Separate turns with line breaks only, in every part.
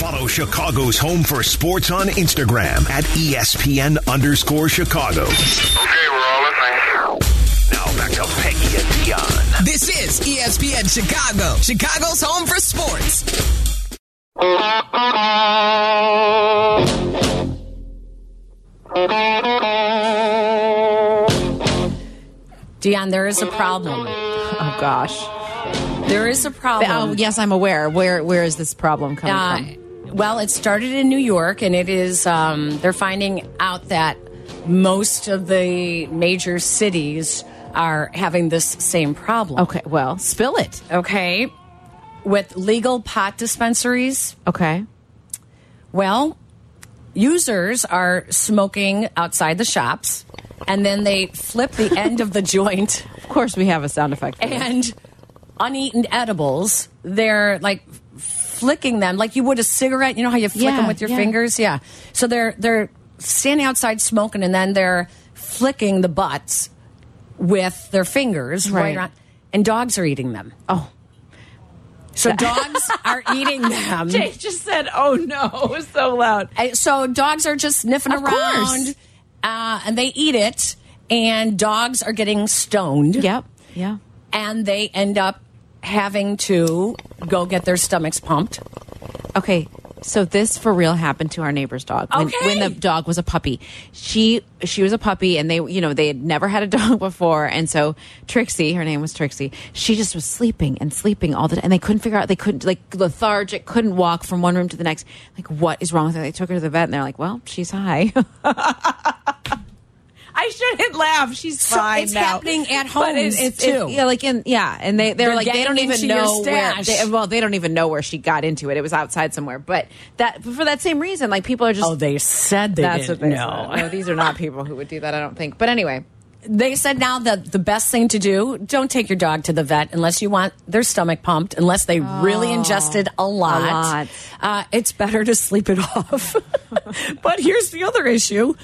Follow Chicago's Home for Sports on Instagram at E ESPN underscore Chicago.
Okay, we're all listening.
Now back to Peggy and Dion.
This is E ESPN Chicago, Chicago's home for sports.
Dion, there is a problem.
Oh gosh.
There is a problem.
oh yes, I'm aware. Where where is this problem coming
Uh,
from?
well, it started in New York, and it is um, they're finding out that most of the major cities are having this same problem.
Okay, well, spill it.
Okay. With legal pot dispensaries,
Okay.
well, users are smoking outside the shops, and then they flip the end of the joint
Of course we have a sound effect. for that.
and uneaten edibles. They're like flicking them like you would a cigarette. You know how you flick
Yeah,
them with your
yeah.
fingers? Yeah. So they're they're standing outside smoking and then they're flicking the butts with their fingers right,
Right.
around and dogs are eating them.
Oh.
So dogs are eating them.
Jay just said, "Oh no." It was so loud.
I- So dogs are just sniffing
Of course.
around uh, and they eat it and dogs are getting stoned.
Yep. Yeah.
and they end up having to go get their stomachs pumped.
Okay. So this for real happened to our neighbor's dog when,
Okay.
when the dog was a puppy. She she was a puppy and they you know they had never had a dog before and so Trixie her name was Trixie she just was sleeping and sleeping all the time and they couldn't figure out they couldn't like lethargic couldn't walk from one room to the next like what is wrong with her they took her to the vet and they're like well she's high. I shouldn't laugh. She's
So it's happening at
But
homes, too.
yeah, like in yeah, and they they're,
They're
like they
getting
don't even
into your
know where.
stash.
They, well, they don't even know where she got into it. It was outside somewhere. But that for that same reason, like people are just
Oh, they said they
that's
didn't
what they
know.
said. No, these are not people who would do that. I don't think. But anyway,
They said now that the best thing to do, don't take your dog to the vet unless you want their stomach pumped, unless they really ingested a lot.
Oh, lot.
Uh, it's better to sleep it off. but here's the other issue.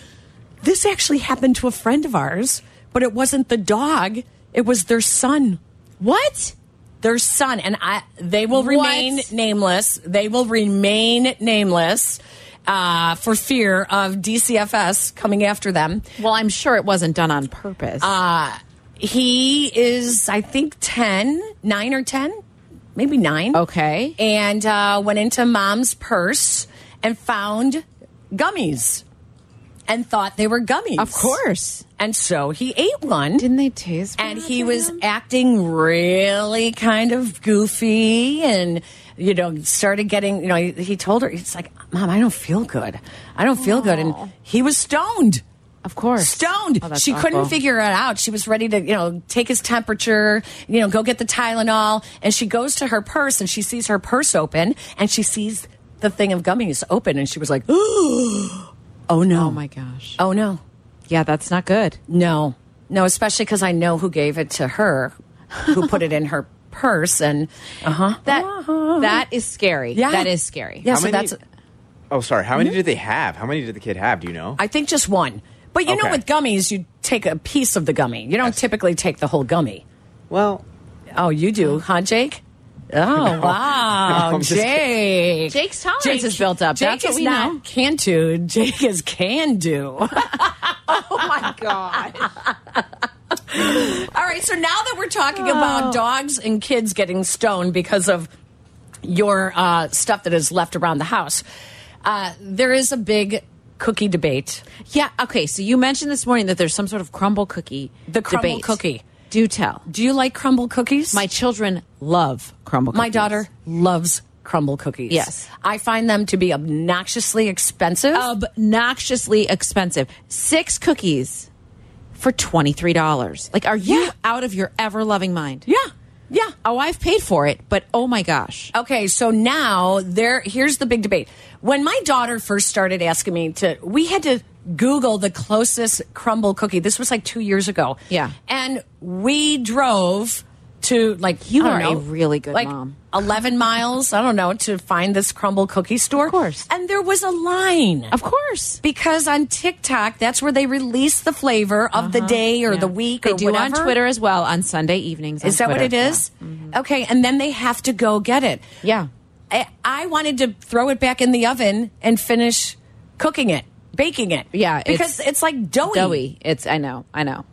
This actually happened to a friend of ours, but it wasn't the dog, it was their son.
what?
their son and I they will remain
What?
nameless. They will remain nameless uh, for fear of DCFS coming after them. Uh,
Well, I'm sure it wasn't done on purpose.
He is I think 10, 9 or 10, maybe 9.
okay.
And uh, went into mom's purse and found gummies and thought they were gummies.
of course.
And so he ate one.
Didn't they taste?
and
bad
he
to
was
him?
acting really kind of goofy and you know started getting you know he, he told her he's like mom i don't feel good i don't feel good and he was stoned
of course
stoned
Oh, that's
she couldn't
awful.
figure it out she was ready to you know take his temperature you know go get the tylenol and she goes to her purse and she sees her purse open and she sees the thing of gummies open and she was like oh no
Oh my gosh.
oh no
Yeah, that's not good.
no, no, especially because I know who gave it to her, who put it in her purse, and uh huh.
That that is scary.
Yeah.
That is scary.
Yeah,
How
so
many-
that's. Mm-hmm.
Oh, sorry. How many did they have? How many did the kid have? Do you know?
I think just one, but you know,
Okay.
with gummies, you take a piece of the gummy. You don't
Yes.
typically take the whole gummy.
well,
Oh, you do, huh, Jake? Oh wow,
No, I'm just
Jake!
Jake's tolerance
Jake
is built up.
Jake
That's what
is
we
not
know.
can do. Jake is can do.
Oh my god.
All right, so now that we're talking
Oh,
about dogs and kids getting stoned because of your uh, stuff that is left around the house, uh, there is a big cookie debate.
Yeah. Okay. So you mentioned this morning that there's some sort of crumble cookie.
The crumble
debate.
cookie.
Do tell.
Do you like crumble cookies?
My children love crumble. cookies.
My daughter loves crumble cookies.
Yes.
I find them to be obnoxiously expensive.
Obnoxiously expensive. Six cookies for twenty three dollars. Like, are you
Yeah.
out of your ever loving mind?
yeah. Yeah.
Oh, I've paid for it, but oh my gosh.
Okay, so now there here's the big debate. When my daughter first started asking me to we had to Google the closest crumble cookie. This was like 2 years ago.
Yeah.
And we drove to like
You
I don't
are a
know,
really good
like
mom.
11 miles, I don't know, to find this crumble cookie store. Of
course.
And there was a line.
Of course.
because on TikTok, that's where they release the flavor of the day or
Uh-huh. Yeah.
the week
They
or
do
whatever.
on Twitter as well on Sunday evenings. on
Is that what it
Twitter.
is? Okay, and then they have to go get it.
Yeah.
I, I wanted to throw it back in the oven and finish cooking it, baking it.
Yeah, it's
because it's, like doughy.
Doughy. It's I know, I know.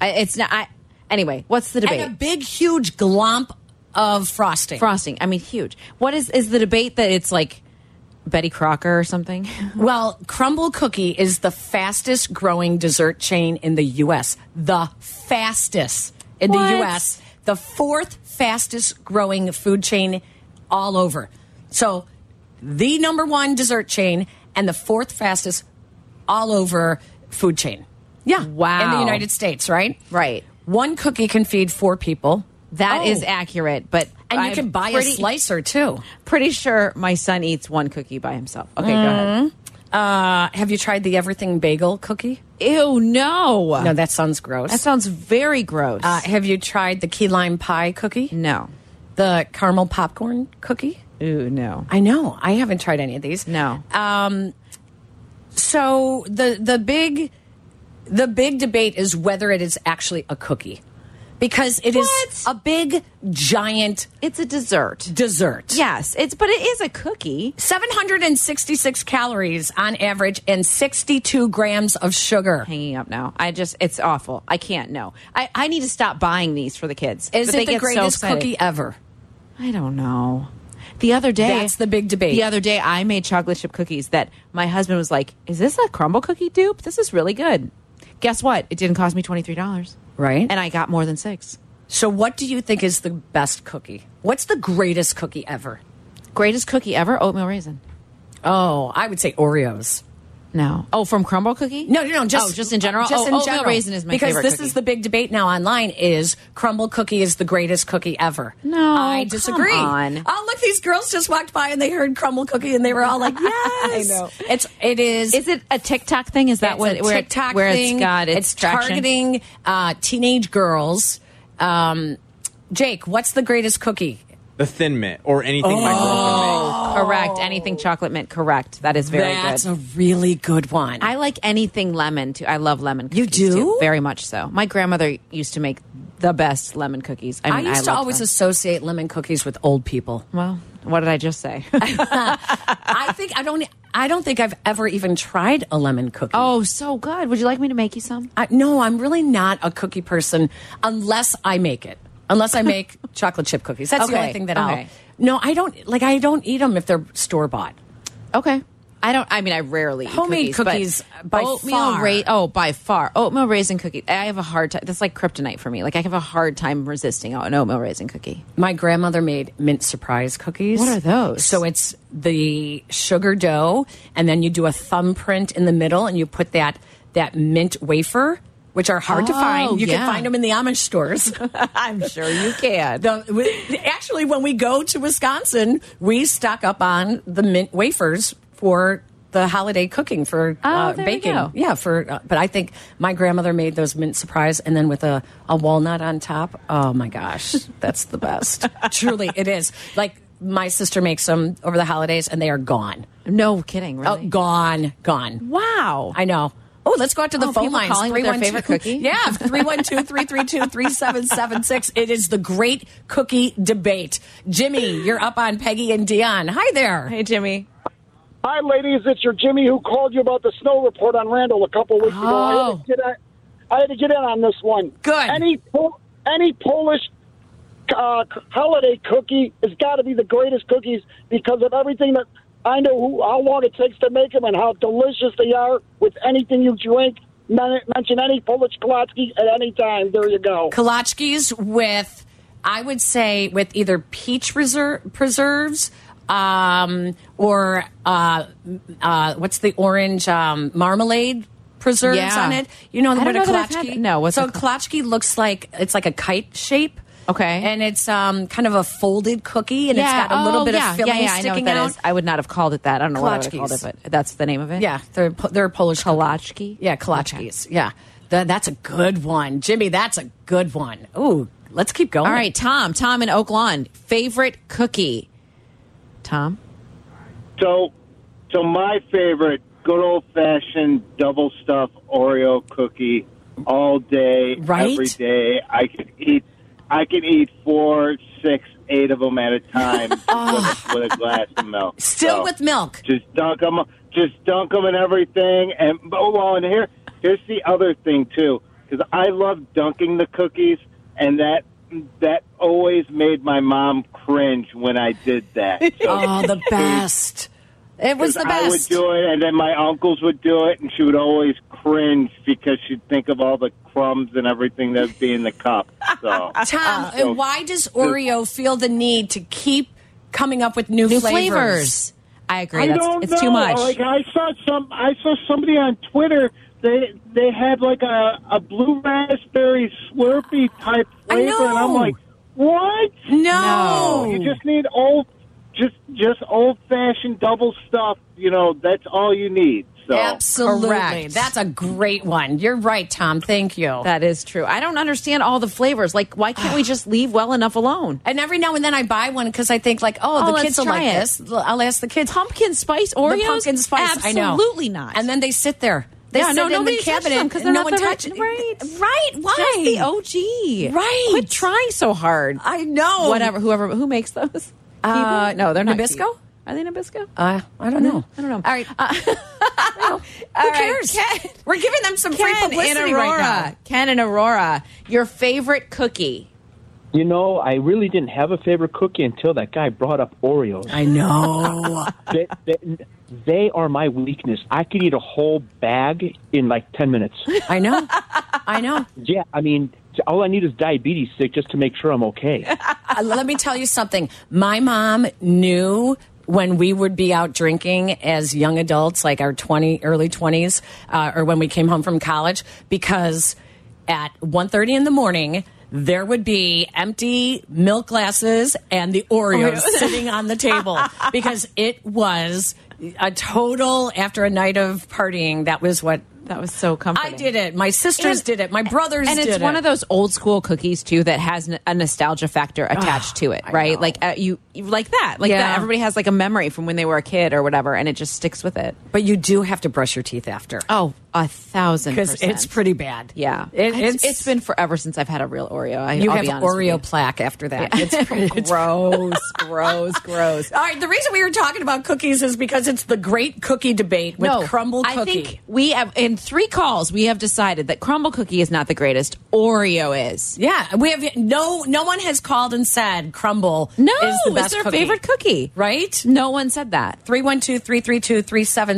I, it's not. I anyway. What's the debate?
And a big, huge glomp of frosting.
Frosting. I mean, huge. What is is the debate that it's like Betty Crocker or something?
Well, Crumble Cookie is the fastest growing dessert chain in the U.S. The fastest in
What?
the U.S. The fourth fastest growing food chain all over. So, the number one dessert chain and the fourth fastest all over food chain. Yeah. In
Wow.
the United States, right?
Right.
One cookie can feed four people.
That is
Oh.
accurate, but
And you
I'm
can buy
pretty,
a slicer too.
Pretty sure my son eats one cookie by himself. Okay, go
Mm-hmm.
ahead.
Uh, have you tried the everything bagel cookie?
Ew, no.
No, that sounds gross.
that sounds very gross.
Uh, have you tried the key lime pie cookie?
no.
The caramel popcorn cookie?
Ooh, no.
I know. I haven't tried any of these.
No.
Um, so the the big the big debate is whether it is actually a cookie because it is
What?
a big giant
It's a dessert.
dessert.
Yes, it's but it is a cookie.
766 calories on average and 62 grams of sugar.
Hanging up now. I just it's awful. I can't no. I, I need to stop buying these for the kids.
Is
But
it
they
the
get so
greatest
excited.
cookie ever?
I don't know. The other day,
That's the big debate.
The other day, I made chocolate chip cookies that my husband was like, "Is this a crumble cookie dupe? This is really good." Guess what? It didn't cost me twenty three dollars,
Right.
And I got more than six.
So what do you think is the best cookie? What's the greatest cookie ever?
Greatest cookie ever? Oatmeal raisin.
Oh, I would say Oreos.
No. Oh, from crumble cookie?
No, no, no. Just
oh, just in general.
Just
oh,
in
oatmeal
general.
raisin is my
because
favorite
this
cookie.
is the big debate now online: is crumble cookie is the greatest cookie ever?
No,
I
come
disagree.
on.
Oh, look, these girls just walked by and they heard crumble cookie and they were all like, "Yes, I know." It's it is.
Is it a TikTok thing? Is that
it's
what
a
where, it-
TikTok
where
thing.
it's got its,
it's
traction?
targeting uh, teenage girls. Um, Jake, what's the greatest cookie?
The Thin Mint or anything my girlfriend makes.
Correct. Anything chocolate mint? Correct. That is very
Oh. That's
good.
a really good one.
I like anything lemon too. I love lemon.
You
cookies,
do?
too. very much so. My grandmother used to make the best lemon cookies. I,
I
mean,
used to
loved
always
them.
associate lemon cookies with old people.
well, what did I just say?
I think I don't. I don't think I've ever even tried a lemon cookie.
oh, so good. Would you like me to make you some?
I, no, I'm really not a cookie person unless I make it. Unless I make chocolate chip cookies. That's the
Okay,
only thing that I'll.
okay.
No, I don't like. I don't eat them if they're store bought.
Okay. I don't. I mean, I rarely eat
Homemade
cookies, but
cookies, by
oatmeal
far.
ra- oh, by far oatmeal raisin cookie. I have a hard time. That's like kryptonite for me. Like I have a hard time resisting an oatmeal raisin cookie.
My grandmother made mint surprise cookies.
What are those?
So it's the sugar dough, and then you do a thumbprint in the middle, and you put that that mint wafer, which are hard to
Oh,
find. You
yeah.
can find them in the Amish stores.
I'm sure you can.
The, we- actually, when we go to Wisconsin, we stock up on the mint wafers for the holiday cooking for
Oh,
uh,
there you
baking.
go.
Yeah, for uh, but I think my grandmother made those mint surprise, and then with a, a walnut on top. Oh my gosh, that's the best. Truly, it is. Like my sister makes them over the holidays, and they are gone.
No kidding. Really?
Oh, gone, gone.
Wow.
I know. Oh, let's go out to the
Oh,
phone
people
lines.
calling with their
312
favorite cookie?
Yeah, 312 332 3776. It is the great cookie debate. Jimmy, you're up on Peggy and Dion. Hi there.
hey, Jimmy.
Hi, ladies. It's your Jimmy who called you about the snow report on Randall a couple weeks ago. I
Oh.
had, to get a- I had to get in on this one.
Good.
Any po- any Polish uh, c- holiday cookie has got to be the greatest cookies because of everything that I know who, how long it takes to make them and how delicious they are with anything you drink. Men- mention any Polish Kolotsky at any time. There you go.
Kolachkis with, I would say, with either peach reser preserves um, or uh, uh, what's the orange um, marmalade preserves
Yeah.
on it. You know
I
what
don't
a
know that I've had-
kolachki?
no, what's
so
a
a
kol-
kolachki looks like it's like a kite shape.
Okay.
and it's um, kind of a folded cookie, and it's got a little
oh,
bit
yeah,
of filling
yeah, yeah, I know what
sticking
that
out.
is. I would not have called it that. I don't know what I would have called
Kolachkis.
it, but that's the name of it.
Yeah, they're po- they're Polish cookie.
Kolachki?
Yeah, kolachkis. Yeah, Th- that's a good one, Jimmy. That's a good one. Ooh, let's keep going.
All right, Tom. Tom in Oak Lawn. Favorite cookie. Tom.
So, so my favorite, good old fashioned double stuffed Oreo cookie all day,
Right?
every day. I could eat, I could eat four, six, eight of them at a time with, a- with a glass of milk.
Still
So,
with milk.
Just dunk them. Just dunk them in everything. And oh well, and here here's the other thing too, because I love dunking the cookies, and that that always made my mom cringe when I did that. So
Oh, the best. It was the
I would
best.
do it, and then my uncles would do it, and she would always cringe because she'd think of all the crumbs and everything that would be in the cup. So
Tom, and why does Oreo feel the need to keep coming up with new,
New
flavors?
flavors. I agree.
I
That's,
don't
it's
know.
too much.
Like I saw some, I saw somebody on Twitter. They they had like a, a blue raspberry Slurpee type
I
flavor, and I'm
know.
like, what?
No.
You just need old, just just old fashioned double stuff. You know, that's all you need. So
Absolutely.
Correct.
That's a great one. You're right, Tom. Thank you.
that is true. I don't understand all the flavors. Like, why can't we just leave well enough alone?
and every now and then I buy one because I think like, oh,
Oh,
the
let's
kids will
try
like
it.
this. I'll ask the kids.
Pumpkin spice Oreos?
The pumpkin spice.
Absolutely
I know.
not.
And then they sit there. They
Yeah,
sit
no,
in the
nobody touches
cabinet
them 'cause
and
they're not
no one
the right-
touches.
right.
Right. Why?
just the OG.
Right.
Quit trying so hard.
I know.
Whatever. Whoever. Who makes those?
Uh,
Hebrew? no, they're not.
Nabisco?
Hebrew. Are they Nabisco?
Uh, I don't know.
I don't know. Uh,
All right.
All
Who
right,
cares?
Ken-
We're giving them some free
Ken in
publicity
Aurora.
right now.
Ken and Aurora. Your favorite cookie.
You know, I really didn't have a favorite cookie until that guy brought up Oreos.
I know.
they, they, they are my weakness. I could eat a whole bag in like 10 minutes.
I know. I know.
yeah, I mean, all I need is diabetes sick just to make sure I'm okay.
Uh, let me tell you something. My mom knew when we would be out drinking as young adults, like our 20, early 20s, uh, or when we came home from college, because at 1.30 in the morning, there would be empty milk glasses and the Oreos sitting on the table because it was a total, after a night of partying, that was what
That was so
I
comforting.
did it. My sisters
And-
did it. My brothers
and it's
did
one
it.
of those old school cookies too that has n- a nostalgia factor attached to it, right? Like uh, you, you- like that, like
Ah, Yeah.
that. Everybody has like a memory from when they were a kid or whatever, and it just sticks with it.
But you do have to brush your teeth after.
Oh, a thousand
because
percent.
it's pretty bad.
Yeah,
It,
it's,
it's,
it's been forever since I've had a real Oreo. I,
you
I'll
have
be honest with
Oreo
you.
plaque after that. It's pretty,
It's
it's
gross, gross, gross.
All right, the reason we were talking about cookies is because it's the great cookie debate with crumble cookie.
I think we have in three calls we have decided that crumble cookie is not the greatest. Oreo is.
yeah, we have no no one has called and said crumble
No,
is the
it's
best
their favorite cookie.
right?
No one said that.
312 332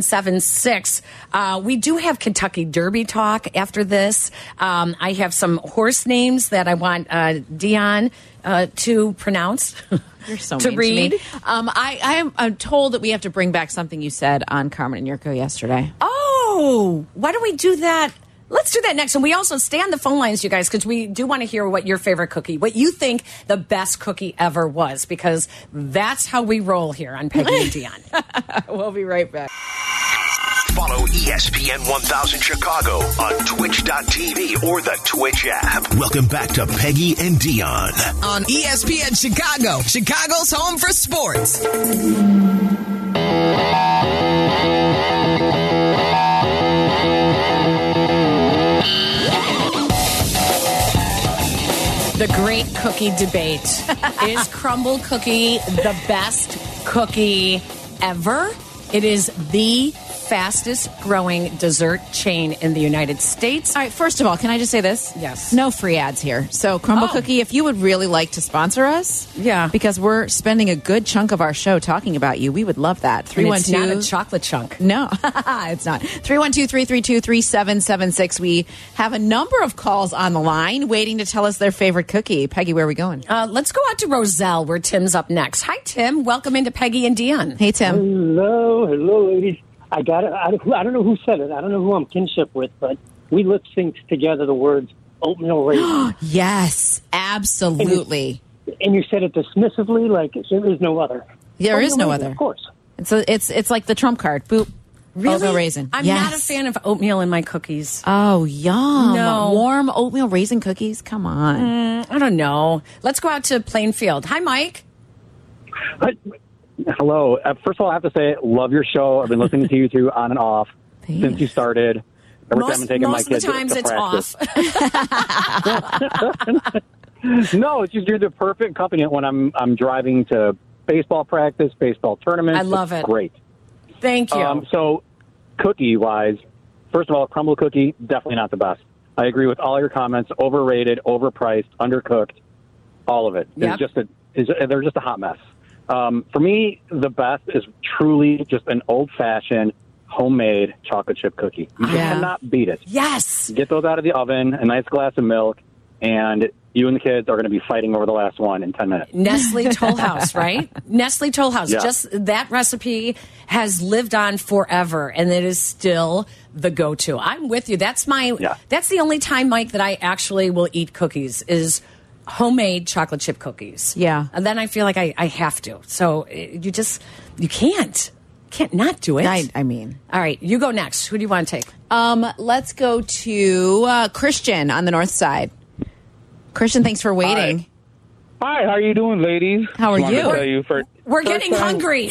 3776. Uh, We do have Kentucky Derby talk after this. Um, I have some horse names that I want uh, Dion uh, to pronounce.
You're so
to
mean
read.
To me. Um, I I am I'm told that we have to bring back something you said on Carmen and Yurko yesterday.
Oh, why don't we do that? Let's do that next. And we also stay on the phone lines, you guys, because we do want to hear what your favorite cookie, what you think the best cookie ever was, because that's how we roll here on Peggy and Dion.
We'll be right back.
Follow E ESPN 1000 Chicago on twitch.tv or the Twitch app. Welcome back to Peggy and Dion.
On E ESPN Chicago, Chicago's home for sports.
The great cookie debate is crumble cookie the best cookie ever? It is the fastest growing dessert chain in the United States.
All right, first of all, can I just say this?
Yes.
No free ads here. So, Crumble
Oh.
Cookie, if you would really like to sponsor us,
Yeah.
because we're spending a good chunk of our show talking about you, we would love that.
And it's
312
not a chocolate chunk.
No, it's not. 312 332 3776. We have a number of calls on the line waiting to tell us their favorite cookie. Peggy, where are we going?
Uh, let's go out to Roselle, where Tim's up next. Hi, Tim. Welcome into Peggy and Dion.
Hey, Tim.
Hello, hello, ladies. I got it. I, don't- I don't know who said it. I don't know who I'm kinship with, but we lip synced together the words oatmeal raisin,
Yes, absolutely.
and you said it dismissively, like there is no other.
There is
Oatmeal
no
raisin,
other.
Of course.
It's, a, it's, it's like the trump card. Boop. Oatmeal raisin.
I'm
Yes.
not a fan of oatmeal in my cookies.
Oh, yum.
No.
Warm oatmeal raisin cookies. Come on.
Mm, I don't know. Let's go out to Plainfield. Hi, Mike.
Hi. Hello. Uh, first of all, I have to say, love your show. I've been listening to you two on and off
Thanks.
since you started. Every time I'm
Most,
taking my
most of the
kids
times
to
it's
practice.
off.
no, it's just you're the perfect company when I'm I'm driving to baseball practice, baseball tournaments.
I love
It's
it.
Great.
Thank you.
Um, so, cookie wise, first of all, crumble cookie definitely not the best. I agree with all your comments. Overrated, overpriced, undercooked, all of it.
Yep.
It's just a, it's, they're just a hot mess. Um, for me, the best is truly just an old fashioned homemade chocolate chip cookie. You cannot beat it.
Yes.
Get those out of the oven, a nice glass of milk, and you and the kids are going to be fighting over the last one in 10 minutes.
Nestle Tollhouse, right? Nestle Tollhouse.
Yeah.
Just that recipe has lived on forever, and it is still the go-to. I'm with you. That's my. That's the only time, Mike, that I actually will eat cookies is homemade chocolate chip cookies.
Yeah.
and then I feel like I, I have to. So eh, you just you can't can't not do it.
I- I mean.
all right, you go next. Who do you want to take?
Um, let's go to uh, Christian on the north side. Christian, thanks for waiting.
Hi, how are you doing, ladies?
How are
Just wanted
you?
to tell you for,
We're
first
getting
time-
hungry.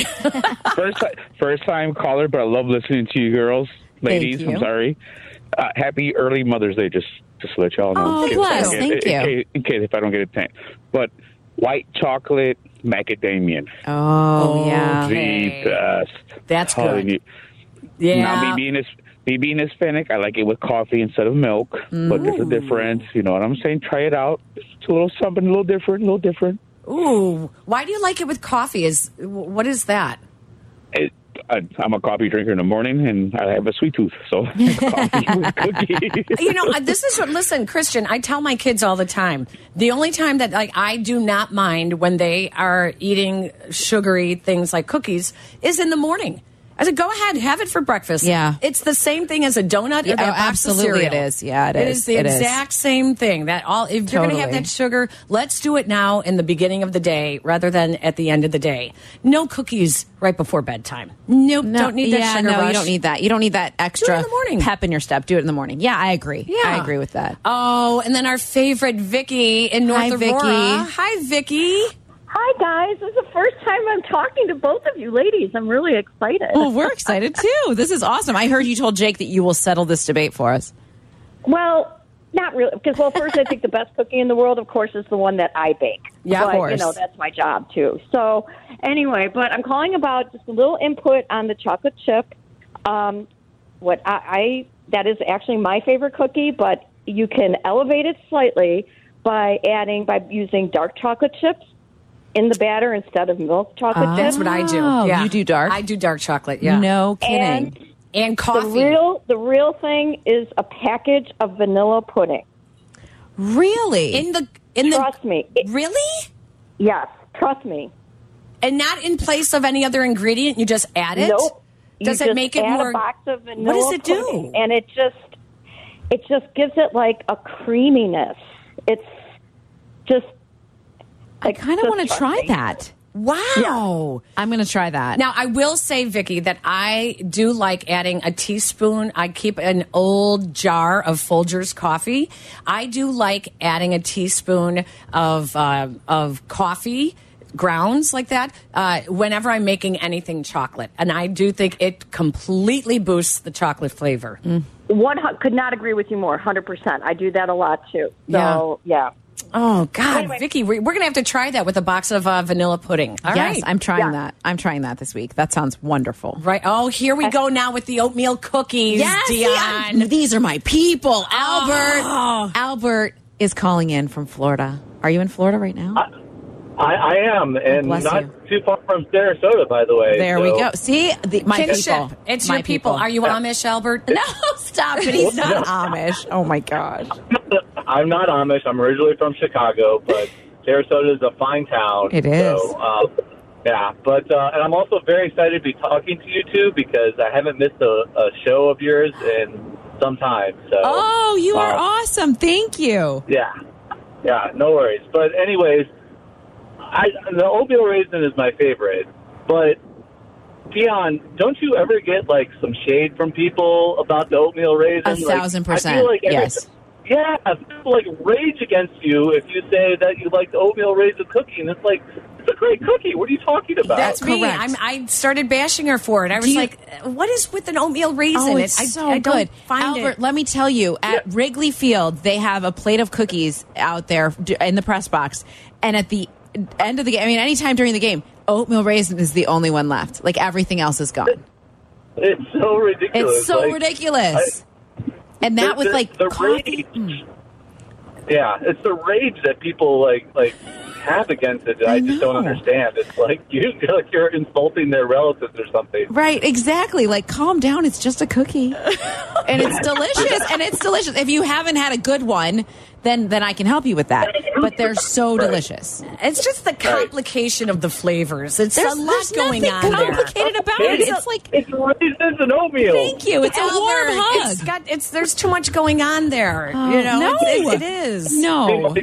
first, ti- first time caller, but I love listening to you girls, ladies.
you.
I'm sorry. Uh, happy early Mother's Day. Just just to let y'all know.
Oh,
In case-
bless.
in-
Thank
in-
you.
In case, in case if I don't get a tank, but white chocolate macadamia.
Oh, yeah.
the best.
That's
Telling
good.
you.
Yeah.
Now, me being his, me being Hispanic, I like it with coffee instead of milk, but there's a
Mm.
Ooh.
difference. You know what I'm saying? Try it out. It's a little something, a little different, a little different.
Ooh, why do you like it with coffee? Is wh- what is that?
It, I, I'm a coffee drinker in the morning, and I have a sweet tooth, so
you know, I- this is what, listen, Christian, I tell my kids all the time. The only time that like I do not mind when they are eating sugary things like cookies is in the morning. I said, go ahead, have it for breakfast.
Yeah.
It's the same thing as a donut or
Yeah,
that
oh,
box of
absolutely
cereal.
it is. Yeah, it
It
is.
is the
It is.
exact same thing. That all if you're gonna have
Totally.
that sugar, let's do it now in the beginning of the day rather than at the end of the day. No cookies right before bedtime. Nope. don't need that
yeah,
sugar
no,
rush.
you don't need that. You don't need that extra
in the morning.
pep in your step. Do it in the morning. Yeah, I agree. I agree with that.
Oh, and then our favorite Vicky in North
Hi,
Aurora.
Vicky.
Hi, Vicky.
Hi, guys. This is the first time I'm talking to both of you ladies. I'm really excited.
Well, we're excited too. This is awesome. I heard you told Jake that you will settle this debate for us.
Well, not really, because well, first I think the best cookie in the world, of course, is the one that I bake.
Yeah, of
But, You
course.
know that's my job too. So anyway, but I'm calling about just a little input on the chocolate chip. Um, what I, I that is actually my favorite cookie, but you can elevate it slightly by adding by using dark chocolate chips in the batter instead of milk chocolate chips.
Ah, That's what I do.
Oh,
Yeah. Oh, You do dark? I do dark chocolate, yeah.
No
kidding.
And, and coffee.
The real the real thing is a package of vanilla pudding.
Really?
In the in the
Trust me. It-
Really?
Yes, trust me.
And not in place of any other ingredient, you just add it?
Nope. You
Does it
just
make it
add
more
a box of vanilla
What does it do?
pudding, And it just it just gives it like a creaminess. It's just
I kind of want to try that.
Wow.
I'm going to try that.
Now, I will say, Vicky, that I do like adding a teaspoon. I keep an old jar of Folgers coffee. I do like adding a teaspoon of uh, of coffee grounds like that uh, whenever I'm making anything chocolate, and I do think it completely boosts the chocolate flavor.
Mm.
one hu- could not agree with you more. Hundred percent. I do that a lot too. So yeah.
Oh God, Vicky, we- we're gonna have to try that with a box of uh, vanilla pudding. All
yes,
right.
I'm trying that. I'm trying that this week. That sounds wonderful.
Right. Oh, here we go now with the oatmeal cookies,
Yes, see,
Dion.
I'm- these are my people. Albert. Albert is calling in from Florida. Are you in Florida right now?
I, I am, and
Oh, bless
not
you.
too far from Sarasota, by the way.
there
so-
we go. See, the, my
Kinship.
people.
It's
My
your people. Are you Amish, Albert? No, stop it.
He's
He's
not
not.
Amish. Oh my gosh.
I'm not Amish. I'm originally from Chicago, but Sarasota is a fine town.
It is.
So, uh, yeah, but uh, and I'm also very excited to be talking to you two because I haven't missed a, a show of yours in some time. So.
Oh, you are
uh,
awesome. Thank you.
Yeah, yeah, no worries. But anyways, I the oatmeal raisin is my favorite. But Dion, don't you ever get like some shade from people about the oatmeal raisin?
A
Like,
thousand
I
percent.
feel like every-
yes.
Yeah, people like rage against you if you say that you like the oatmeal raisin cookie, and it's like it's a great cookie. What are you talking about?
That's me. I'm, I started bashing her for it. I was
you-
like, "What is with an oatmeal raisin?"
Oh,
It-
it's
I,
so
I don't
good.
find
Albert,
it.
let me tell you, at Wrigley Field, they have a plate of cookies out there d- in the press box, and at the end of the game, I mean, anytime during the game, oatmeal raisin is the only one left. Like everything else is gone.
It's so ridiculous.
It's so
Like,
ridiculous. and
the-
that with
the-
like
the
coffee.
I- yeah, it's the rage that people like like have against it that I, just don't understand. It's like you feel like you're insulting their relatives or something.
Right, exactly. Like, calm down. It's just a cookie, and it's delicious. And it's delicious. If you haven't had a good one, then then I can help you with that. But they're so delicious.
It's just the complication of the flavors. It's
There's-
a lot
there's
going
nothing
on. there.
complicated about it. It's It's-
like
it's raisins and oatmeal.
Thank you. It's a warm
Albert,
hug.
It's got it's there's too much going on there.
Oh,
you know,
no.
It's- it- it is.
No.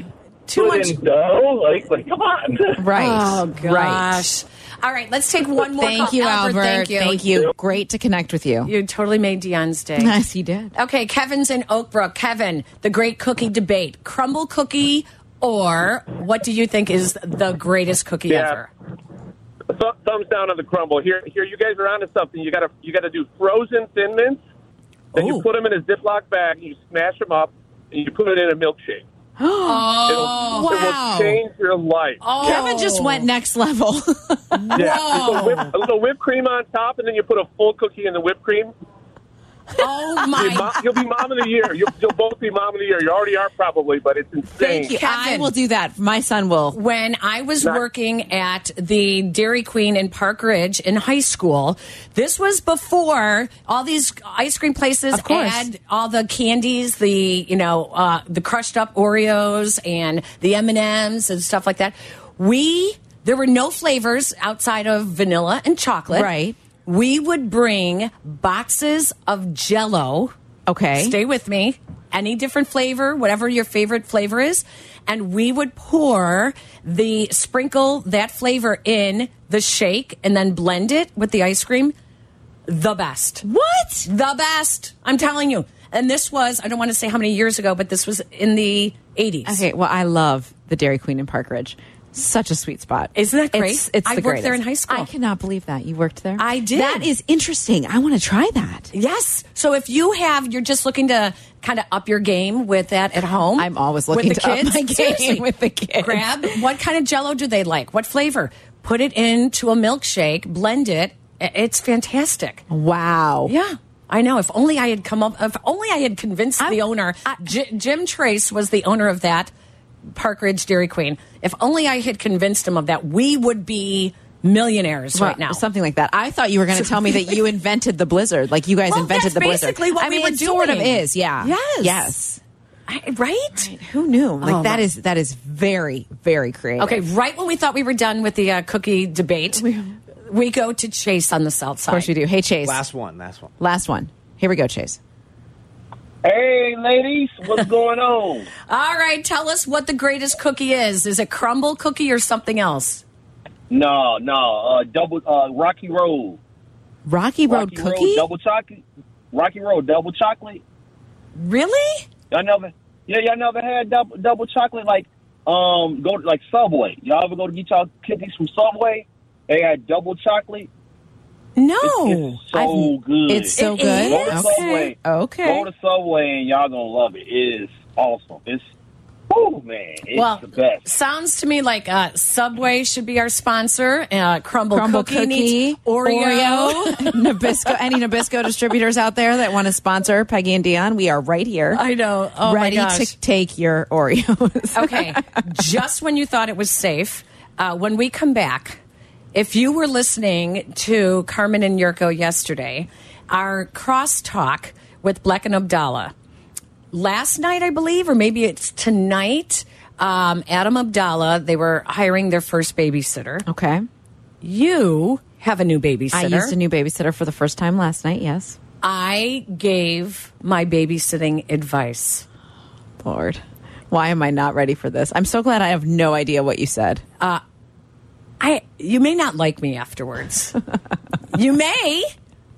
too
Put
much.
in dough, like like come on.
Right.
Oh
Right.
gosh. All right, let's take one more.
Thank
call.
you,
Albert,
Albert.
Thank you.
Great to connect with you.
You totally made Dion's day.
Yes, he did.
Okay, Kevin's in Oakbrook. Kevin, the great cookie debate: crumble cookie or what do you think is the greatest cookie
Yeah.
ever?
Th- thumbs down on the crumble. Here, here, you guys are onto something. You gotta, you gotta do frozen thin mints. Then you put them in a Ziploc bag, you smash them up, and you put it in a milkshake.
oh,
It will change your life.
Kevin just
Oh.
went next level.
Yeah, just a, whip, a little whipped cream on top, and then you put a full cookie in the whipped cream.
Oh my!
You'll, you'll be mom of the year. You'll, you'll both be mom of the year. You already are probably, but it's insane.
Thank you. I will do that. My son will.
when I was working at the Dairy Queen in Park Ridge in high school, this was before all these ice cream places
Of course.
had all the candies, the you know uh, the crushed up Oreos and the M and M's and stuff like that. We there were no flavors outside of vanilla and chocolate.
Right.
We would bring boxes of Jello.
Okay.
Stay with me. Any different flavor, whatever your favorite flavor is, and we would pour the sprinkle that flavor in the shake and then blend it with the ice cream. The best.
What?
The best. I'm telling you. And this was I don't want to say how many years ago, but this was in the 80s.
Okay, well, I love the Dairy Queen in Park Ridge. Such a sweet spot.
Isn't that great?
It's, it's
I
the
worked there
greatest.
in high school.
I cannot believe that. You worked there?
I did.
That is interesting. I want to try that.
Yes. So if you have, you're just looking to kind of up your game with that at home. I'm
always looking
with the
to up
kids.
my game
Seriously.
with the kids.
Grab what kind of Jello do they like? What flavor? Put it into a milkshake. Blend it. I- It's fantastic.
Wow.
Yeah. I know. If only I had come up. If only I had convinced the owner. J- Jim Trace was the owner of that Park Ridge Dairy Queen. If only I had convinced him of that, we would be millionaires
Well,
right now.
Something like that. I thought you were going to tell me that you invented the blizzard. Like you guys
Well,
invented
that's
the blizzard.
basically what
I
we
mean,
were
it sort of
doing.
is. Yeah.
Yes.
Yes.
I- right?
Who knew? Like
Oh,
that
my-
is that is very very creative.
Okay, right when we thought we were done with the uh, cookie debate, we go to Chase on the south side.
Of course we do. Hey Chase.
Last one. Last one.
Last one. Here we go, Chase.
Hey, ladies, what's going on?
All right, tell us what the greatest cookie is. Is it crumble cookie or something else?
No, no, uh, double uh, Rocky Road.
Rocky Road
Rocky
cookie.
Road double chocolate. Rocky Road double chocolate.
Really?
Y'all never, yeah, y'all never had double double chocolate like um go to, like Subway. Y'all ever go to get y'all cookies from Subway? They had double chocolate.
No,
it's, it's so good.
It's so It good?
Go to
is?
Subway.
Okay.
Go to Subway and y'all gonna love it. It is awesome. It's oh man, it's
well,
the best.
sounds to me like uh, Subway should be our sponsor. Uh, crumble,
Crumble
cookie,
cookie,
needs Oreo.
Nabisco. Any Nabisco distributors out there that want to sponsor Peggy and Dion? We are right here.
I know. Oh, my
ready
gosh.
to take your Oreos.
okay, just when you thought it was safe, uh, when we come back, if you were listening to Carmen and Yurko yesterday, our crosstalk with Black and Abdallah last night, I believe, or maybe it's tonight. Um, Adam Abdallah, they were hiring their first babysitter.
Okay.
You have a new babysitter.
I used a new babysitter for the first time last night. Yes.
I gave my babysitting advice.
Lord, why am I not ready for this? I'm so glad I have no idea what you said.
Uh, I you may not like me afterwards. you may,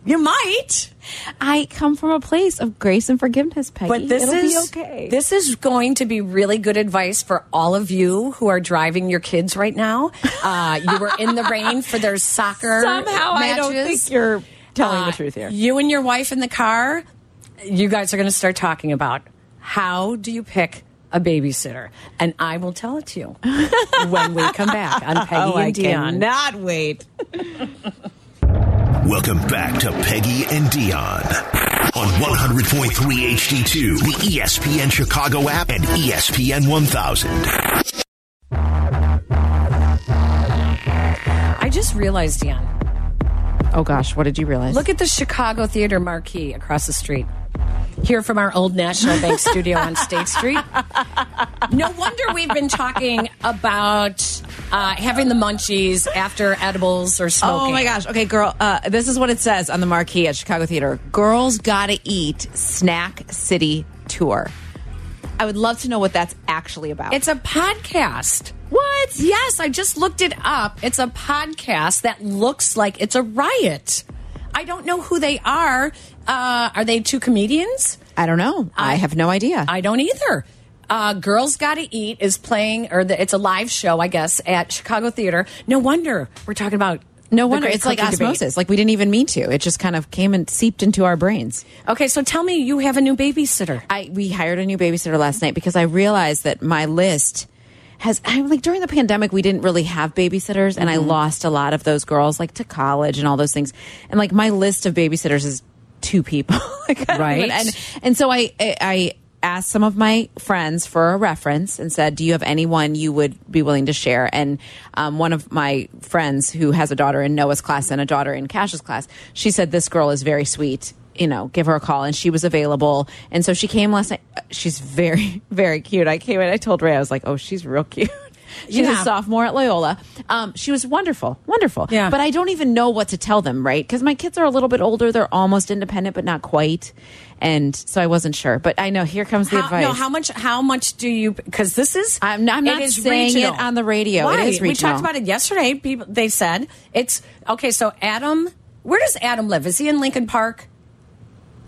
You might.
I come from a place of grace and forgiveness, Peggy.
But this
It'll
is
be okay.
this is going to be really good advice for all of you who are driving your kids right now. Uh, you were in the rain for their soccer.
Somehow I don't
matches.
think you're telling
Uh,
the truth here.
You and your wife in the car, you guys are going to start talking about how do you pick a babysitter, and I will tell it to you when we come back on Peggy
Oh, I
and Dion.
cannot wait.
Welcome back to Peggy and Dion on 100.3 HD2, the E ESPN Chicago app and E ESPN 1000.
I just realized, Dion.
Oh gosh, what did you realize?
Look at the Chicago Theater marquee across the street. Here from our old National Bank studio on State Street. No wonder we've been talking about uh, having the munchies after edibles or smoking.
Oh my gosh. Okay, girl. Uh, this is what it says on the marquee at Chicago Theater Girls Gotta Eat Snack City Tour. I would love to know what that's actually about.
It's a podcast. What? Yes, I just looked it up. It's a podcast that looks like it's a riot. I don't know who they are. Uh, are they two comedians?
I don't know. I, have no idea.
I don't either. Uh, Girls Gotta Eat is playing, or the, it's a live show, I guess, at Chicago Theater. No wonder we're talking about.
no
the
wonder.
great
It's like
cookie debate.
osmosis. Like we didn't even mean to. It just kind of came and seeped into our brains.
Okay, so tell me you have a new babysitter.
I we hired a new babysitter last night because I realized that my list has I'm like during the pandemic we didn't really have babysitters and
Mm-hmm.
I lost a lot of those girls like to college and all those things. And like my list of babysitters is two people. Like, I don't
Right.
even- and and so I I- I asked some of my friends for a reference and said, "Do you have anyone you would be willing to share?" And um, one of my friends who has a daughter in Noah's class and a daughter in Cash's class, she said, "This girl is very sweet." You know, give her a call, and she was available, and so she came last night. Uh, She's very, very cute. I came in, I told Ray, I was like, "Oh, she's real cute." She's
Yeah.
a sophomore at Loyola. Um, she was wonderful, wonderful.
Yeah.
But I don't even know what to tell them, right? Because my kids are a little bit older. They're almost independent, but not quite. And so I wasn't sure. But I know here comes the
How,
advice.
no, how much? How much do you? Because this is
I'm not- I'm
it
not
is
saying it
regional.
on the radio. It
Why?
is
We
regional.
talked about it yesterday. People they said it's okay. So Adam, where does Adam live? Is he in Lincoln Park?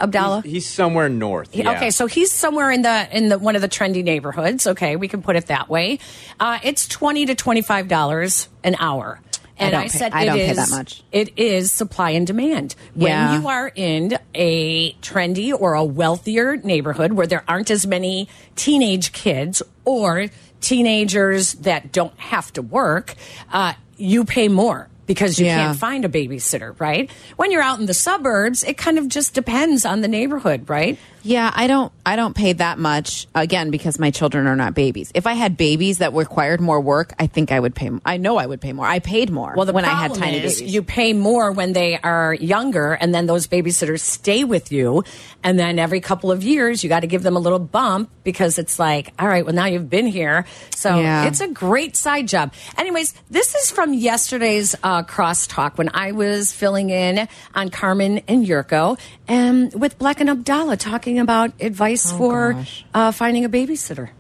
Abdallah.
He's somewhere north.
He-
yeah.
Oh. Okay, so he's somewhere in the in the one of the trendy neighborhoods. Okay, we can put it that way. Uh, it's twenty to twenty five dollars an hour,
I
and
don't
I,
pay-
said
I
it
don't pay
is-
that much.
It is supply and demand.
Yeah.
When you are in a trendy or a wealthier neighborhood where there aren't as many teenage kids or teenagers that don't have to work, uh, you pay more. Because you
Yeah.
can't find a babysitter, right? When you're out in the suburbs, it kind of just depends on the neighborhood, right?
yeah, I don't. I don't pay that much again because my children are not babies. If I had babies that required more work, I think I would pay. m- I know I would pay more. I paid more
Well, the
when I
problem
had tiny
is
babies.
you pay more when they are younger, and then those babysitters stay with you. And then every couple of years, you got to give them a little bump because it's like, all right, well, now you've been here. So
Yeah.
it's a great side job. Anyways, this is from yesterday's uh, crosstalk when I was filling in on Carmen and Yurko and with Black and Abdallah talking about advice for
Oh, gosh.
uh, finding a babysitter.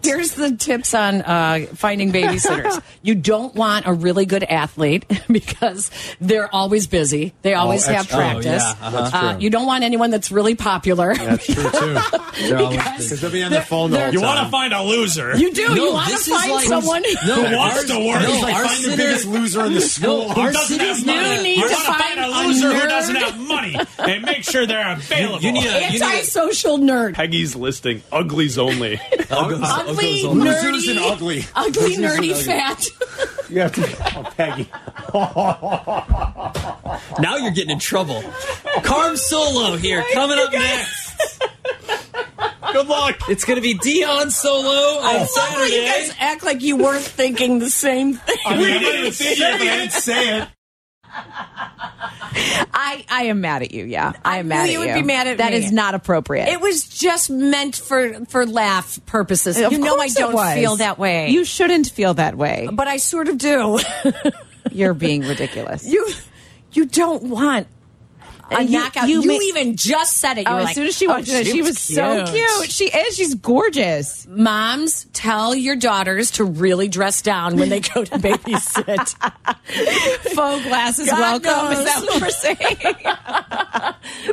Here's the tips on uh, finding babysitters. you don't want a really good athlete because they're always busy. They always have
extra- oh, yeah,
practice.
uh-huh. That's
Uh,
true.
you don't want anyone that's really popular.
True too. Because they'll be on the phone the whole
You want
time.
to find a loser.
You do.
No,
you want to
this is
find
like-
someone
No,
who wants
ours-
to work.
no,
He's like,
our
find the
city-
biggest loser in the
No,
school.
our
who doesn't
city
have
is
money.
not- You
I
need
want
to
to
find
find a
a
loser who
nerd.
doesn't have money and make sure they're available.
You- you need a- you need a-
Antisocial nerd.
Peggy's listing uglies only.
Ugly,
Losers
nerdy,
and ugly.
ugly,
Losers and
nerdy,
ugly.
fat.
You have to, oh, Peggy.
Now you're getting in trouble. Carm Solo here, coming up next. Good luck. It's going to be Dion Solo
Oh,
I
on
love how you guys
Saturday.
act like you weren't thinking the same thing.
say it.
I, I am mad at you. Yeah, I am
knew
mad at
you
you.
would be mad at
That
me.
is not appropriate.
It was just meant for for laugh purposes.
Of
you know I
course it
don't
was.
feel that way.
You shouldn't feel that way.
but I sort of do.
You're being ridiculous.
you you don't want a
You-
knockout.
you
You,
may-
even just said it. You
Oh,
were
as
like,
soon as she
"Oh,
walked in, she was so cute. She is. She's gorgeous.
Moms tell your daughters to really dress down when they go to babysit.
Faux glasses
God
welcome. Is
knows.
that what we're saying?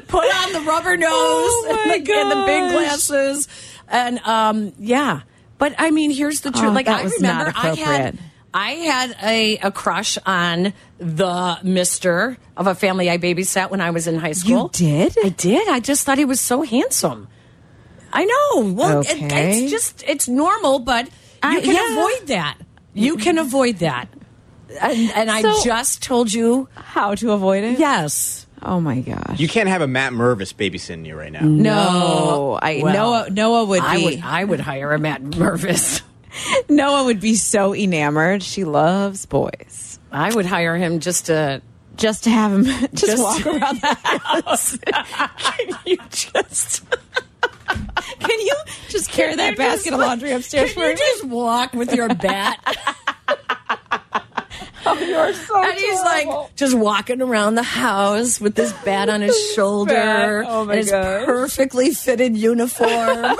Put on the rubber nose
Oh, my
and, the, and the big
gosh.
glasses, and um, yeah. But I mean, here's the truth.
Oh,
like
that
I
was
remember,
not
I had
appropriate.
I had a, a crush on the Mister of a family I babysat when I was in high school.
did?
I did. I just thought he was so handsome. I know. Well, it-
Okay.
it's just it's normal, but you
I-
can
yeah.
avoid that. You can avoid that. And, and I
So-
just told you
how to avoid it.
Yes.
Oh my gosh.
You can't have a Matt Mervis babysitting you right now.
No, I
Well,
Noah Noah would
I
be
would I would hire a Matt Mervis.
Noah would be so enamored. She loves boys.
I would hire him just to
just to have him just,
Just-
walk around the house.
can you just
Can you just carry that basket of laundry upstairs
Can
for
you
me?
just walk with your bat?
Oh, you're so
and he's like just walking around the house with this bat on his shoulder
bat. Oh, my
and his
gosh.
perfectly fitted uniform.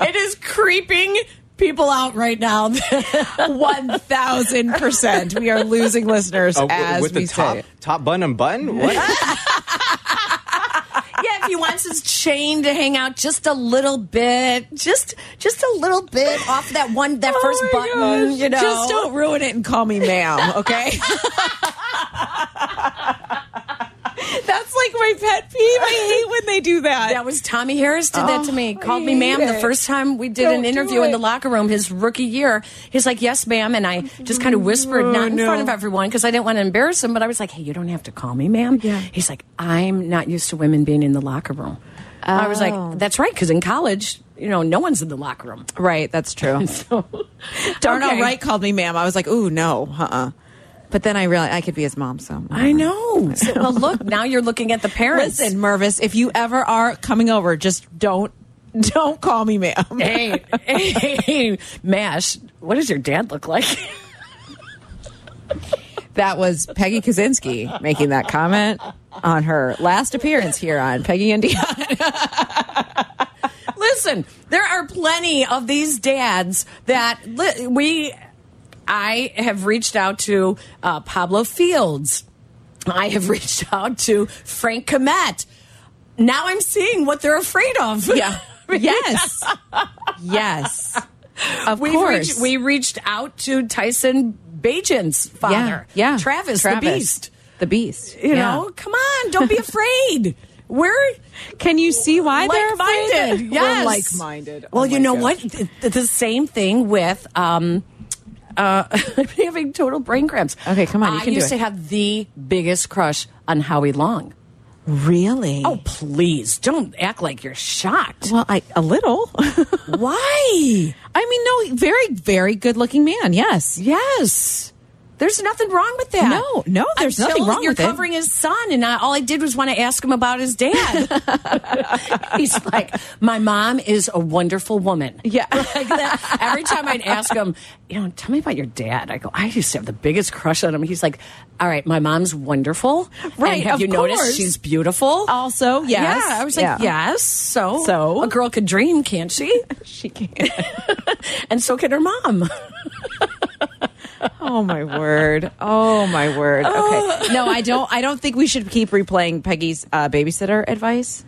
it is creeping people out right now.
one thousand percent. We are losing listeners
Oh, w-
as
with
we
the top,
say. it.
top bun and bun? What?
yeah, if he wants his chain to hang out just a little bit, just just a little bit off that one that first
Oh my
button,
gosh.
you know.
Just don't ruin it and call me ma'am, okay? That's like my pet peeve. I hate when they do that.
That was Tommy Harris did that to
Oh,
me.
I
Called me
hate
ma'am the
it.
first time we did
Don't
an
do
interview in
it.
the locker room his rookie year. He's like, "Yes, ma'am," and I just kind of whispered,
Oh,
not in front of everyone, because I didn't want to embarrass him. But I was like, "Hey, you don't have to call me ma'am." Yeah. He's like, "I'm not used to women being in the locker room." I was
Oh.
like, "That's right," because in college, you know, no one's in the locker room.
Right, that's true. Darnell
Okay.
Wright called me ma'am. I was like, ooh, no, uh uh But then I realized I could be his mom, so.
I know. So, well, look, now you're looking at the parents.
Listen, Mervis, if you ever are coming over, just don't don't call me ma'am.
hey, hey, hey, Mash, what does your dad look like?
That was Peggy Kaczynski making that comment on her last appearance here on Peggy and Dion.
Listen, there are plenty of these dads that li we, I have reached out to uh, Pablo Fields. I have reached out to Frank Komet. Now I'm seeing what they're afraid of. Yeah.
Yes. Yes. Of
we
course.
Reached, we reached out to Tyson Bajan's father.
Yeah. yeah.
Travis, the Beast.
The Beast.
You
yeah.
know, come on, don't be afraid. We're
Can you see why they're
like-minded.
afraid?
Yes,
We're like-minded. Oh
well, you
my
know
gosh.
what? Th- th- The same thing with um, uh, I'm having total brain cramps.
Okay, come on, you
I
can do
used
it.
to have the biggest crush on Howie Long.
Really?
Oh, please don't act like you're shocked.
well, I a little.
Why?
I mean, no, very, very good-looking man. Yes.
Yes. There's nothing wrong with that.
No, no, there's
Until
nothing wrong
you're
with it.
You're covering his son, and I, all I did was want to ask him about his dad. He's like, my mom is a wonderful woman.
Yeah.
Like that. Every time I'd ask him, you know, tell me about your dad. I go, I used to have the biggest crush on him. He's like, all right, my mom's wonderful. And
Right,
have
of
you
course.
noticed she's beautiful?
Also, yes.
Yeah. I was like,
Yeah.
yes. So,
So?
a girl could dream, can't she?
She can't.
and so can her mom.
Oh my word. Oh my word. Okay. No, I don't I don't think we should keep replaying Peggy's uh, babysitter advice.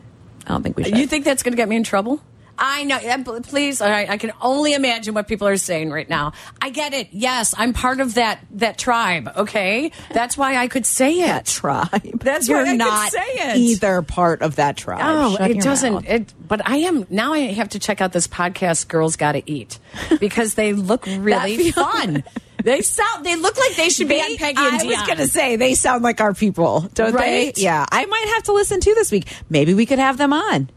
I don't think we should.
You think that's going to get me in trouble? I know. uh, pl- Please, all right, I can only imagine what people are saying right now. I get it. Yes, I'm part of that that tribe. Okay, that's why I could say it.
tribe.
That's
You're
right, I could
not
say it.
either part of that tribe.
Oh,
Shut
it
your
doesn't.
mouth.
It, but I am now. I have to check out this podcast. Girls got to eat because they look really
feels-
fun. They sound. They look like they should be
They-
on Peggy and
I was
Deion.
going to say they sound like our people, don't
Right?
they? Yeah, I might have to listen to this week. Maybe we could have them on.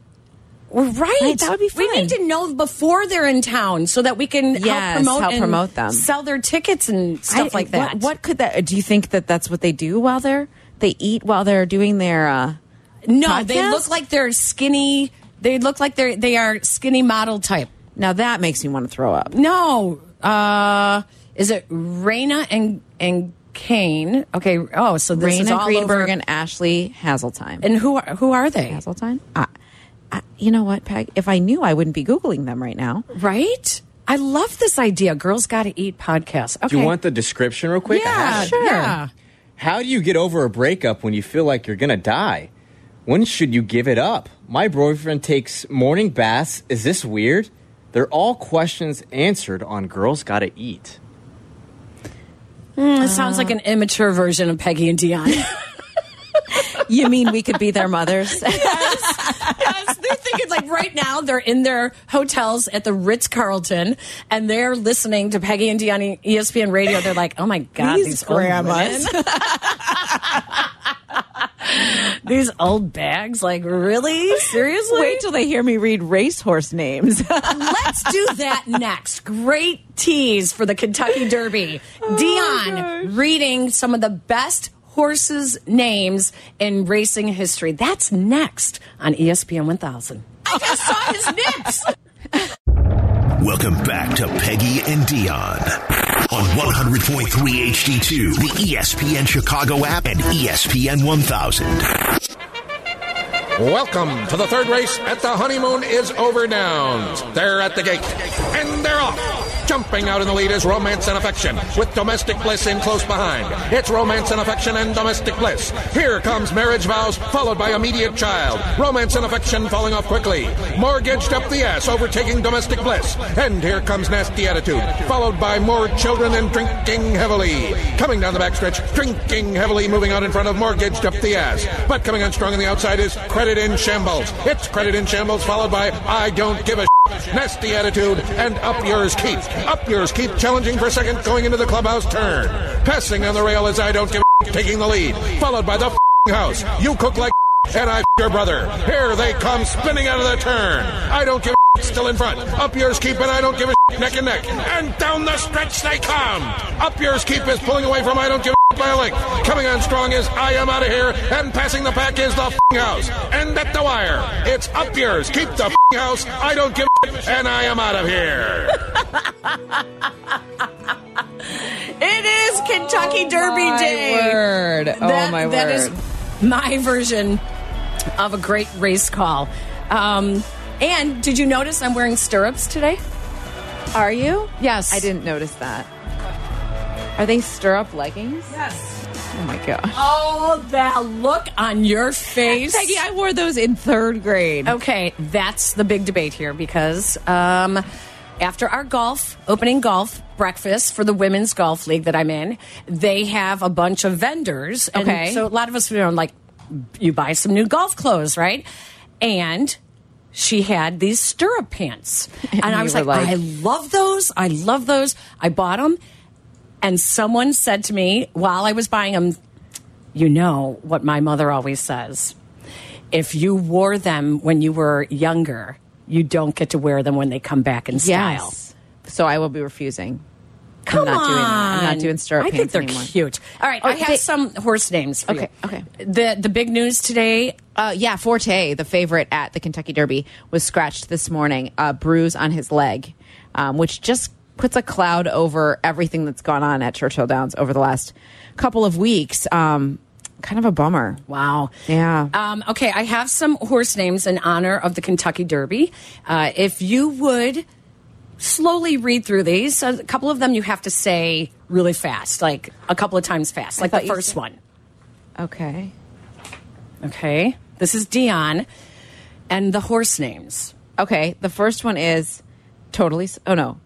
Well, right.
Right, that would be
We need
fun.
to know before they're in town so that we can help
Yes,
promote
help
and
promote them.
sell their tickets and stuff
I-
like that.
What, what could that? uh, Do you think that that's what they do while they're they eat while they're doing their? uh
No, they
podcast?
look like they're skinny. They look like they're they are skinny model type.
Now that makes me want to throw up.
No, uh, is it Raina and and Kane? Okay. Oh, so this is
Raina
all
Greenberg
over.
and Ashley Hazeltime.
And who are who are they?
Hazeltine? I, I, you know what, Peg? If I knew, I wouldn't be Googling them right now.
Right. I love this idea. Girls got to eat podcast. Okay.
Do you want the description real quick? I
Yeah.
have it.
Sure. Yeah.
How do you get over a breakup when you feel like you're gonna die? When should you give it up? My boyfriend takes morning baths. Is this weird? They're all questions answered on Girls Gotta Eat.
Mm, it sounds like an
Uh.
immature version of Peggy and Dion.
you mean we could be their mothers?
yes, they're thinking like right now they're in their hotels at the Ritz Carlton and they're listening to Peggy and Dion E on ESPN radio. They're like, oh my god, these,
These
old
grandmas.
women. these old bags, like really seriously.
Wait till they hear me read racehorse names.
Let's do that next. Great tease for the Kentucky Derby.
Oh,
Dion reading some of the best horses' names in racing history. That's next on E ESPN 1000. I just saw his nips.
Welcome back to Peggy and Dion on 100.3 HD2, the E ESPN Chicago app and E ESPN 1000.
Welcome to the third race at the honeymoon is over downs. They're at the gate and they're off. Jumping out in the lead is Romance and Affection with Domestic Bliss in close behind. It's Romance and Affection and Domestic Bliss. Here comes Marriage Vows followed by Immediate Child. Romance and Affection falling off quickly. Mortgaged up the ass overtaking Domestic Bliss. And here comes Nasty Attitude followed by More Children and Drinking Heavily. Coming down the backstretch, Drinking Heavily moving out in front of Mortgaged up the ass. But coming on strong on the outside is Credit in Shambles. It's Credit in Shambles followed by I Don't Give a Shit, Nasty Attitude and Up Yours Keep. Up Yours Keep challenging for second going into the clubhouse turn. Passing on the rail is I Don't Give a Shit, taking the lead. Followed by the f***ing house. You cook like shit, and I f- your brother. Here they come spinning out of the turn. I Don't Give a Shit, Still in front. Up yours keep and I don't give a shit, neck and neck. And down the stretch they come. Up yours keep is pulling away from I don't give a by a length. Coming on strong is I Am Out of Here, and passing the pack is the f***ing house. And at the wire, it's up yours. Keep the f***ing house. I don't give a shit, and I am out of here.
It is Kentucky Derby
my
Day.
word. Oh, my
That is
word.
my version of a great race call. Um, and did you notice I'm wearing stirrups today?
Are you?
Yes.
I didn't notice that. Are they stirrup leggings?
Yes.
Oh my gosh.
Oh, that look on your face.
Peggy, I wore those in third grade.
Okay, that's the big debate here because um, after our golf, opening golf breakfast for the Women's Golf League that I'm in, they have a bunch of vendors. And
Okay.
So a lot of us, you know, like, you buy some new golf clothes, right? And she had these stirrup pants. And, I
you
was
were
like,
like-
I love those. I love those. I bought them. And someone said to me while I was buying them, you know what my mother always says if you wore them when you were younger, you don't get to wear them when they come back in style.
Yes. So I will be refusing.
Come
I'm not doing that. I'm
on.
not doing stirrup
I
pants
think they're
anymore.
cute. All right,
Oh,
I have
they-
some horse names for
Okay,
you.
okay.
The the big news today.
Uh, yeah, Forte, the favorite at the Kentucky Derby, was scratched this morning, a bruise on his leg, um, which just puts a cloud over everything that's gone on at Churchill Downs over the last couple of weeks. Um, kind of a bummer.
Wow.
Yeah.
Um, okay, I have some horse names in honor of the Kentucky Derby. Uh, if you would slowly read through these, a couple of them you have to say really fast, like a couple of times fast,
I
like the
thought you
first
said-
one.
Okay.
Okay. This is Dion and the horse names.
Okay. The first one is totally. s- Oh, no.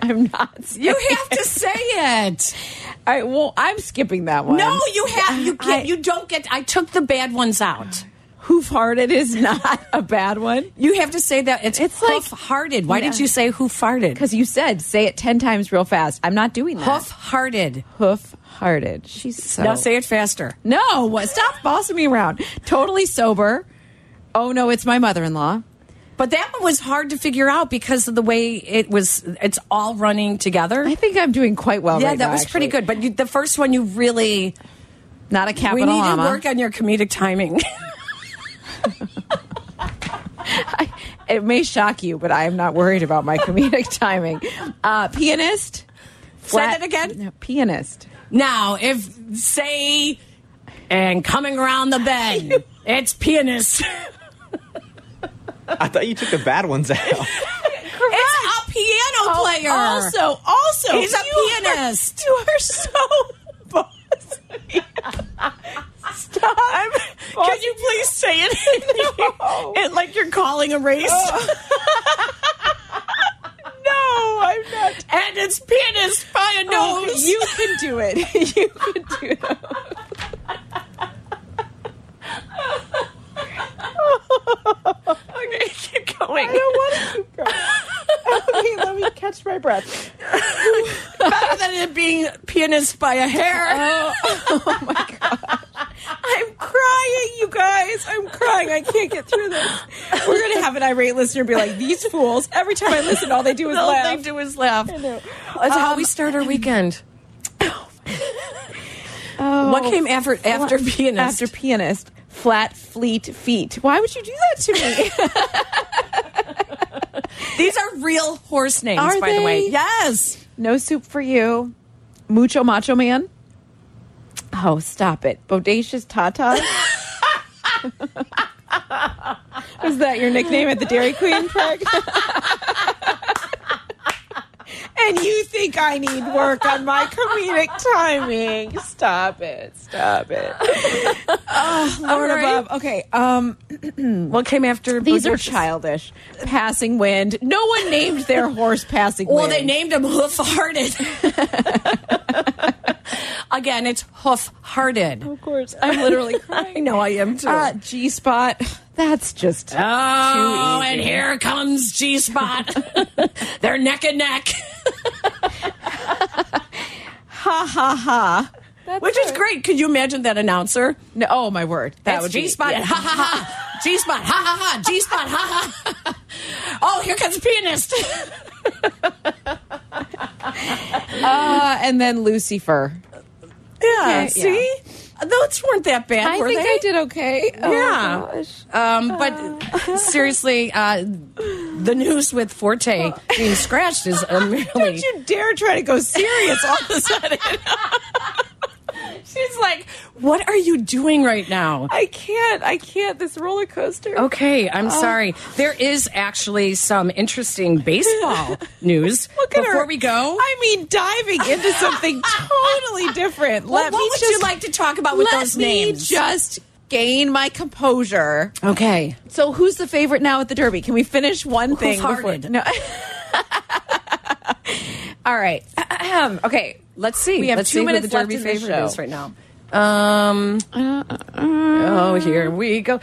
I'm not.
You have to say it.
I well, I'm skipping that one.
No, you have you can't you don't get I took the bad ones out.
Hoof hearted is not a bad one.
You have to say that it's, it's hoof hearted. Why did
No.
you say who farted?
Because you said say it ten times real fast. I'm not doing that.
Hoof hearted.
Hoof hearted. She's so.
Now say it faster.
No, what- stop bossing me around. Totally sober. Oh no, it's my mother-in-law.
But that one was hard to figure out because of the way it was it's all running together.
I think I'm doing quite well.
yeah,
right
that
now,
was pretty
actually.
good. But you, the first one you really
Not a
we
capital
need
llama.
to work on your comedic timing.
It may shock you, but I am not worried about my comedic timing. Uh, pianist.
that again?
No, pianist.
now, if say and coming around the bend, it's pianist.
I thought you took the bad ones out.
It's a Oh, piano player.
Also, also,
He's a
you are-
pianist.
you are so boss.
Stop. can you please say it? and like you're calling a race? Oh. no, I'm not. And it's penis by a nose. you can do it. you can do it.
okay, keep going. I don't want to keep going. okay, let me catch my breath.
Better than it being penis by a hair.
Oh, I'm crying, you guys. I'm crying. I can't get through this. We're gonna have an irate listener be like, "These fools!" Every time I listen, all they do is
All
laugh.
they do is laugh.
I know.
That's how
Um,
we start our weekend.
Oh.
What came after after
Flat-
pianist?
After pianist, flat fleet feet. Why would you do that to me?
These are real horse names,
Are
by the way.
they?
Yes.
no soup for you.
Mucho Macho Man? Oh, stop it. Bodacious Tata?
Is that your nickname at the Dairy Queen park? and you think I need work on my comedic timing? Stop it. Stop it. Oh, Lord
right.
above. Okay. Um
What came after?
these are
Berserk?
childish. Passing wind. No one named their horse passing
Well,
wind.
they named him Hoof Hearted. Again, it's Hoof Hearted. Of
course. I'm literally crying.
I know I am too.
Uh, G spot. That's just
oh,
too easy.
and here comes G Spot. They're neck and neck,
ha ha ha.
which is great. Could you imagine that announcer?
No, oh my word. That
That's
would
G Spot.
be yeah.
Ha ha ha. G Spot. Ha ha ha. G Spot. Ha ha. Oh, here comes pianist.
Uh, and then Lucifer.
Yeah.
Okay,
see, those weren't that bad.
I
were
think
they?
I did okay. Oh,
Yeah.
gosh.
Um, but seriously, uh, the news with Forte being scratched is um,
Don't
really.
you dare try to go serious all of a sudden.
She's like, "What are you doing right now?"
I can't. I can't. This roller coaster. Oh.
Okay, I'm sorry. There is actually some interesting baseball news.
Look at
Before
her.
we go,
I mean, diving into something totally different.
Well,
let
what
me
would
just,
you like to talk about with
let
those
me
names?
just gain my composure.
okay.
So, who's the favorite now at the Derby? Can we finish one thing? before-
farted?
No. All right. Ahem. okay.
Let's see.
We have
Let's
two
see
minutes
who the Derby
left in the
favorite
show. Uh,
is right now. Um. oh, here we go.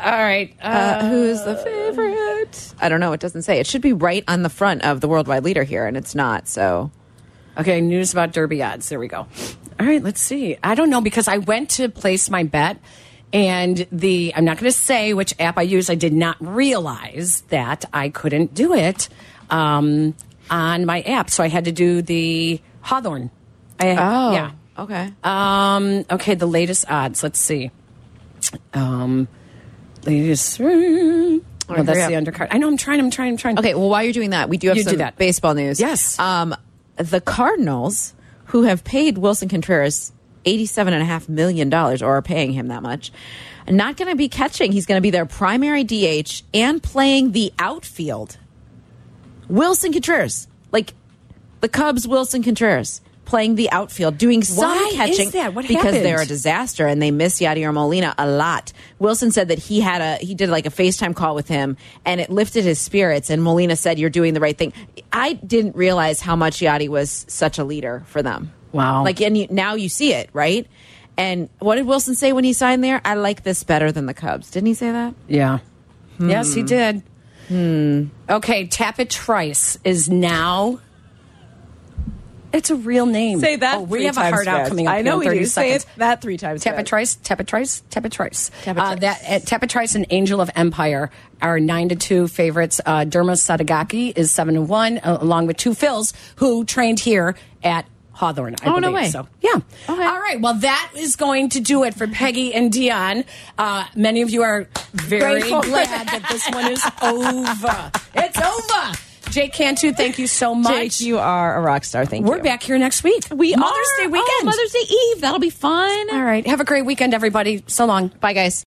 All right.
Uh, who's the favorite? I don't know. It doesn't say. It should be right on the front of the worldwide leader here, and it's not. So
Okay, news about Derby odds. There we go. All right, let's see. I don't know because I went to place my bet and the I'm not going to say which app I use. I did not realize that I couldn't do it um, on my app, so I had to do the Hawthorne. I,
oh
yeah.
okay.
Um, okay, the latest odds. Let's see. Um, latest. Oh,
right,
that's
hurry
the
up.
undercard. I know. I'm trying. I'm trying. I'm trying.
Okay. Well, while you're doing that, we do have
You do
some
that.
baseball news.
Yes.
Um, the Cardinals, who have paid Wilson Contreras eighty-seven and a half million dollars, or are paying him that much, are not going to be catching. He's going to be their primary DH and playing the outfield. Wilson Contreras, like the Cubs, Wilson Contreras playing the outfield, doing some
Why is
catching
that? What
because
happened?
they're a disaster and they miss Yadier Molina a lot. Wilson said that he had a he did like a FaceTime call with him and it lifted his spirits. And Molina said, "You're doing the right thing." I didn't realize how much Yadi was such a leader for them.
Wow.
Like and you, now you see it, right? And what did Wilson say when he signed there? I like this better than the Cubs. Didn't he say that?
Yeah. Yes,
Hmm.
he did. Okay, Tappa Trice is now. It's a real name.
Say that.
Oh, we
three
have a
times
hard out
fast.
coming up.
I
here
know
in
we
30
do. Say
Seconds.
it that three times.
Tappa
fast.
Trice, Tappa Trice, Tappa Trice.
Tappa
Uh,
Trice.
that, uh, Tappa Trice and Angel of Empire are 9 to 2 favorites. Uh, Derma Sadagaki is 7 to 1, uh, along with two Phils, who trained here at Hawthorne. I
Oh, no
believe.
way.
So, yeah. All right. Well, that is going to do it for Peggy and Dion. Uh, many of you are very
Grateful for
glad that this one is over. It's over. Jake Cantu, thank you so much.
Jake, you are a rock star. Thank
We're
you.
back here next week.
We
Mother's
are.
Day
Oh,
weekend.
Mother's Day Eve. That'll be fun.
All right. Have a great weekend, everybody. So long.
Bye, guys.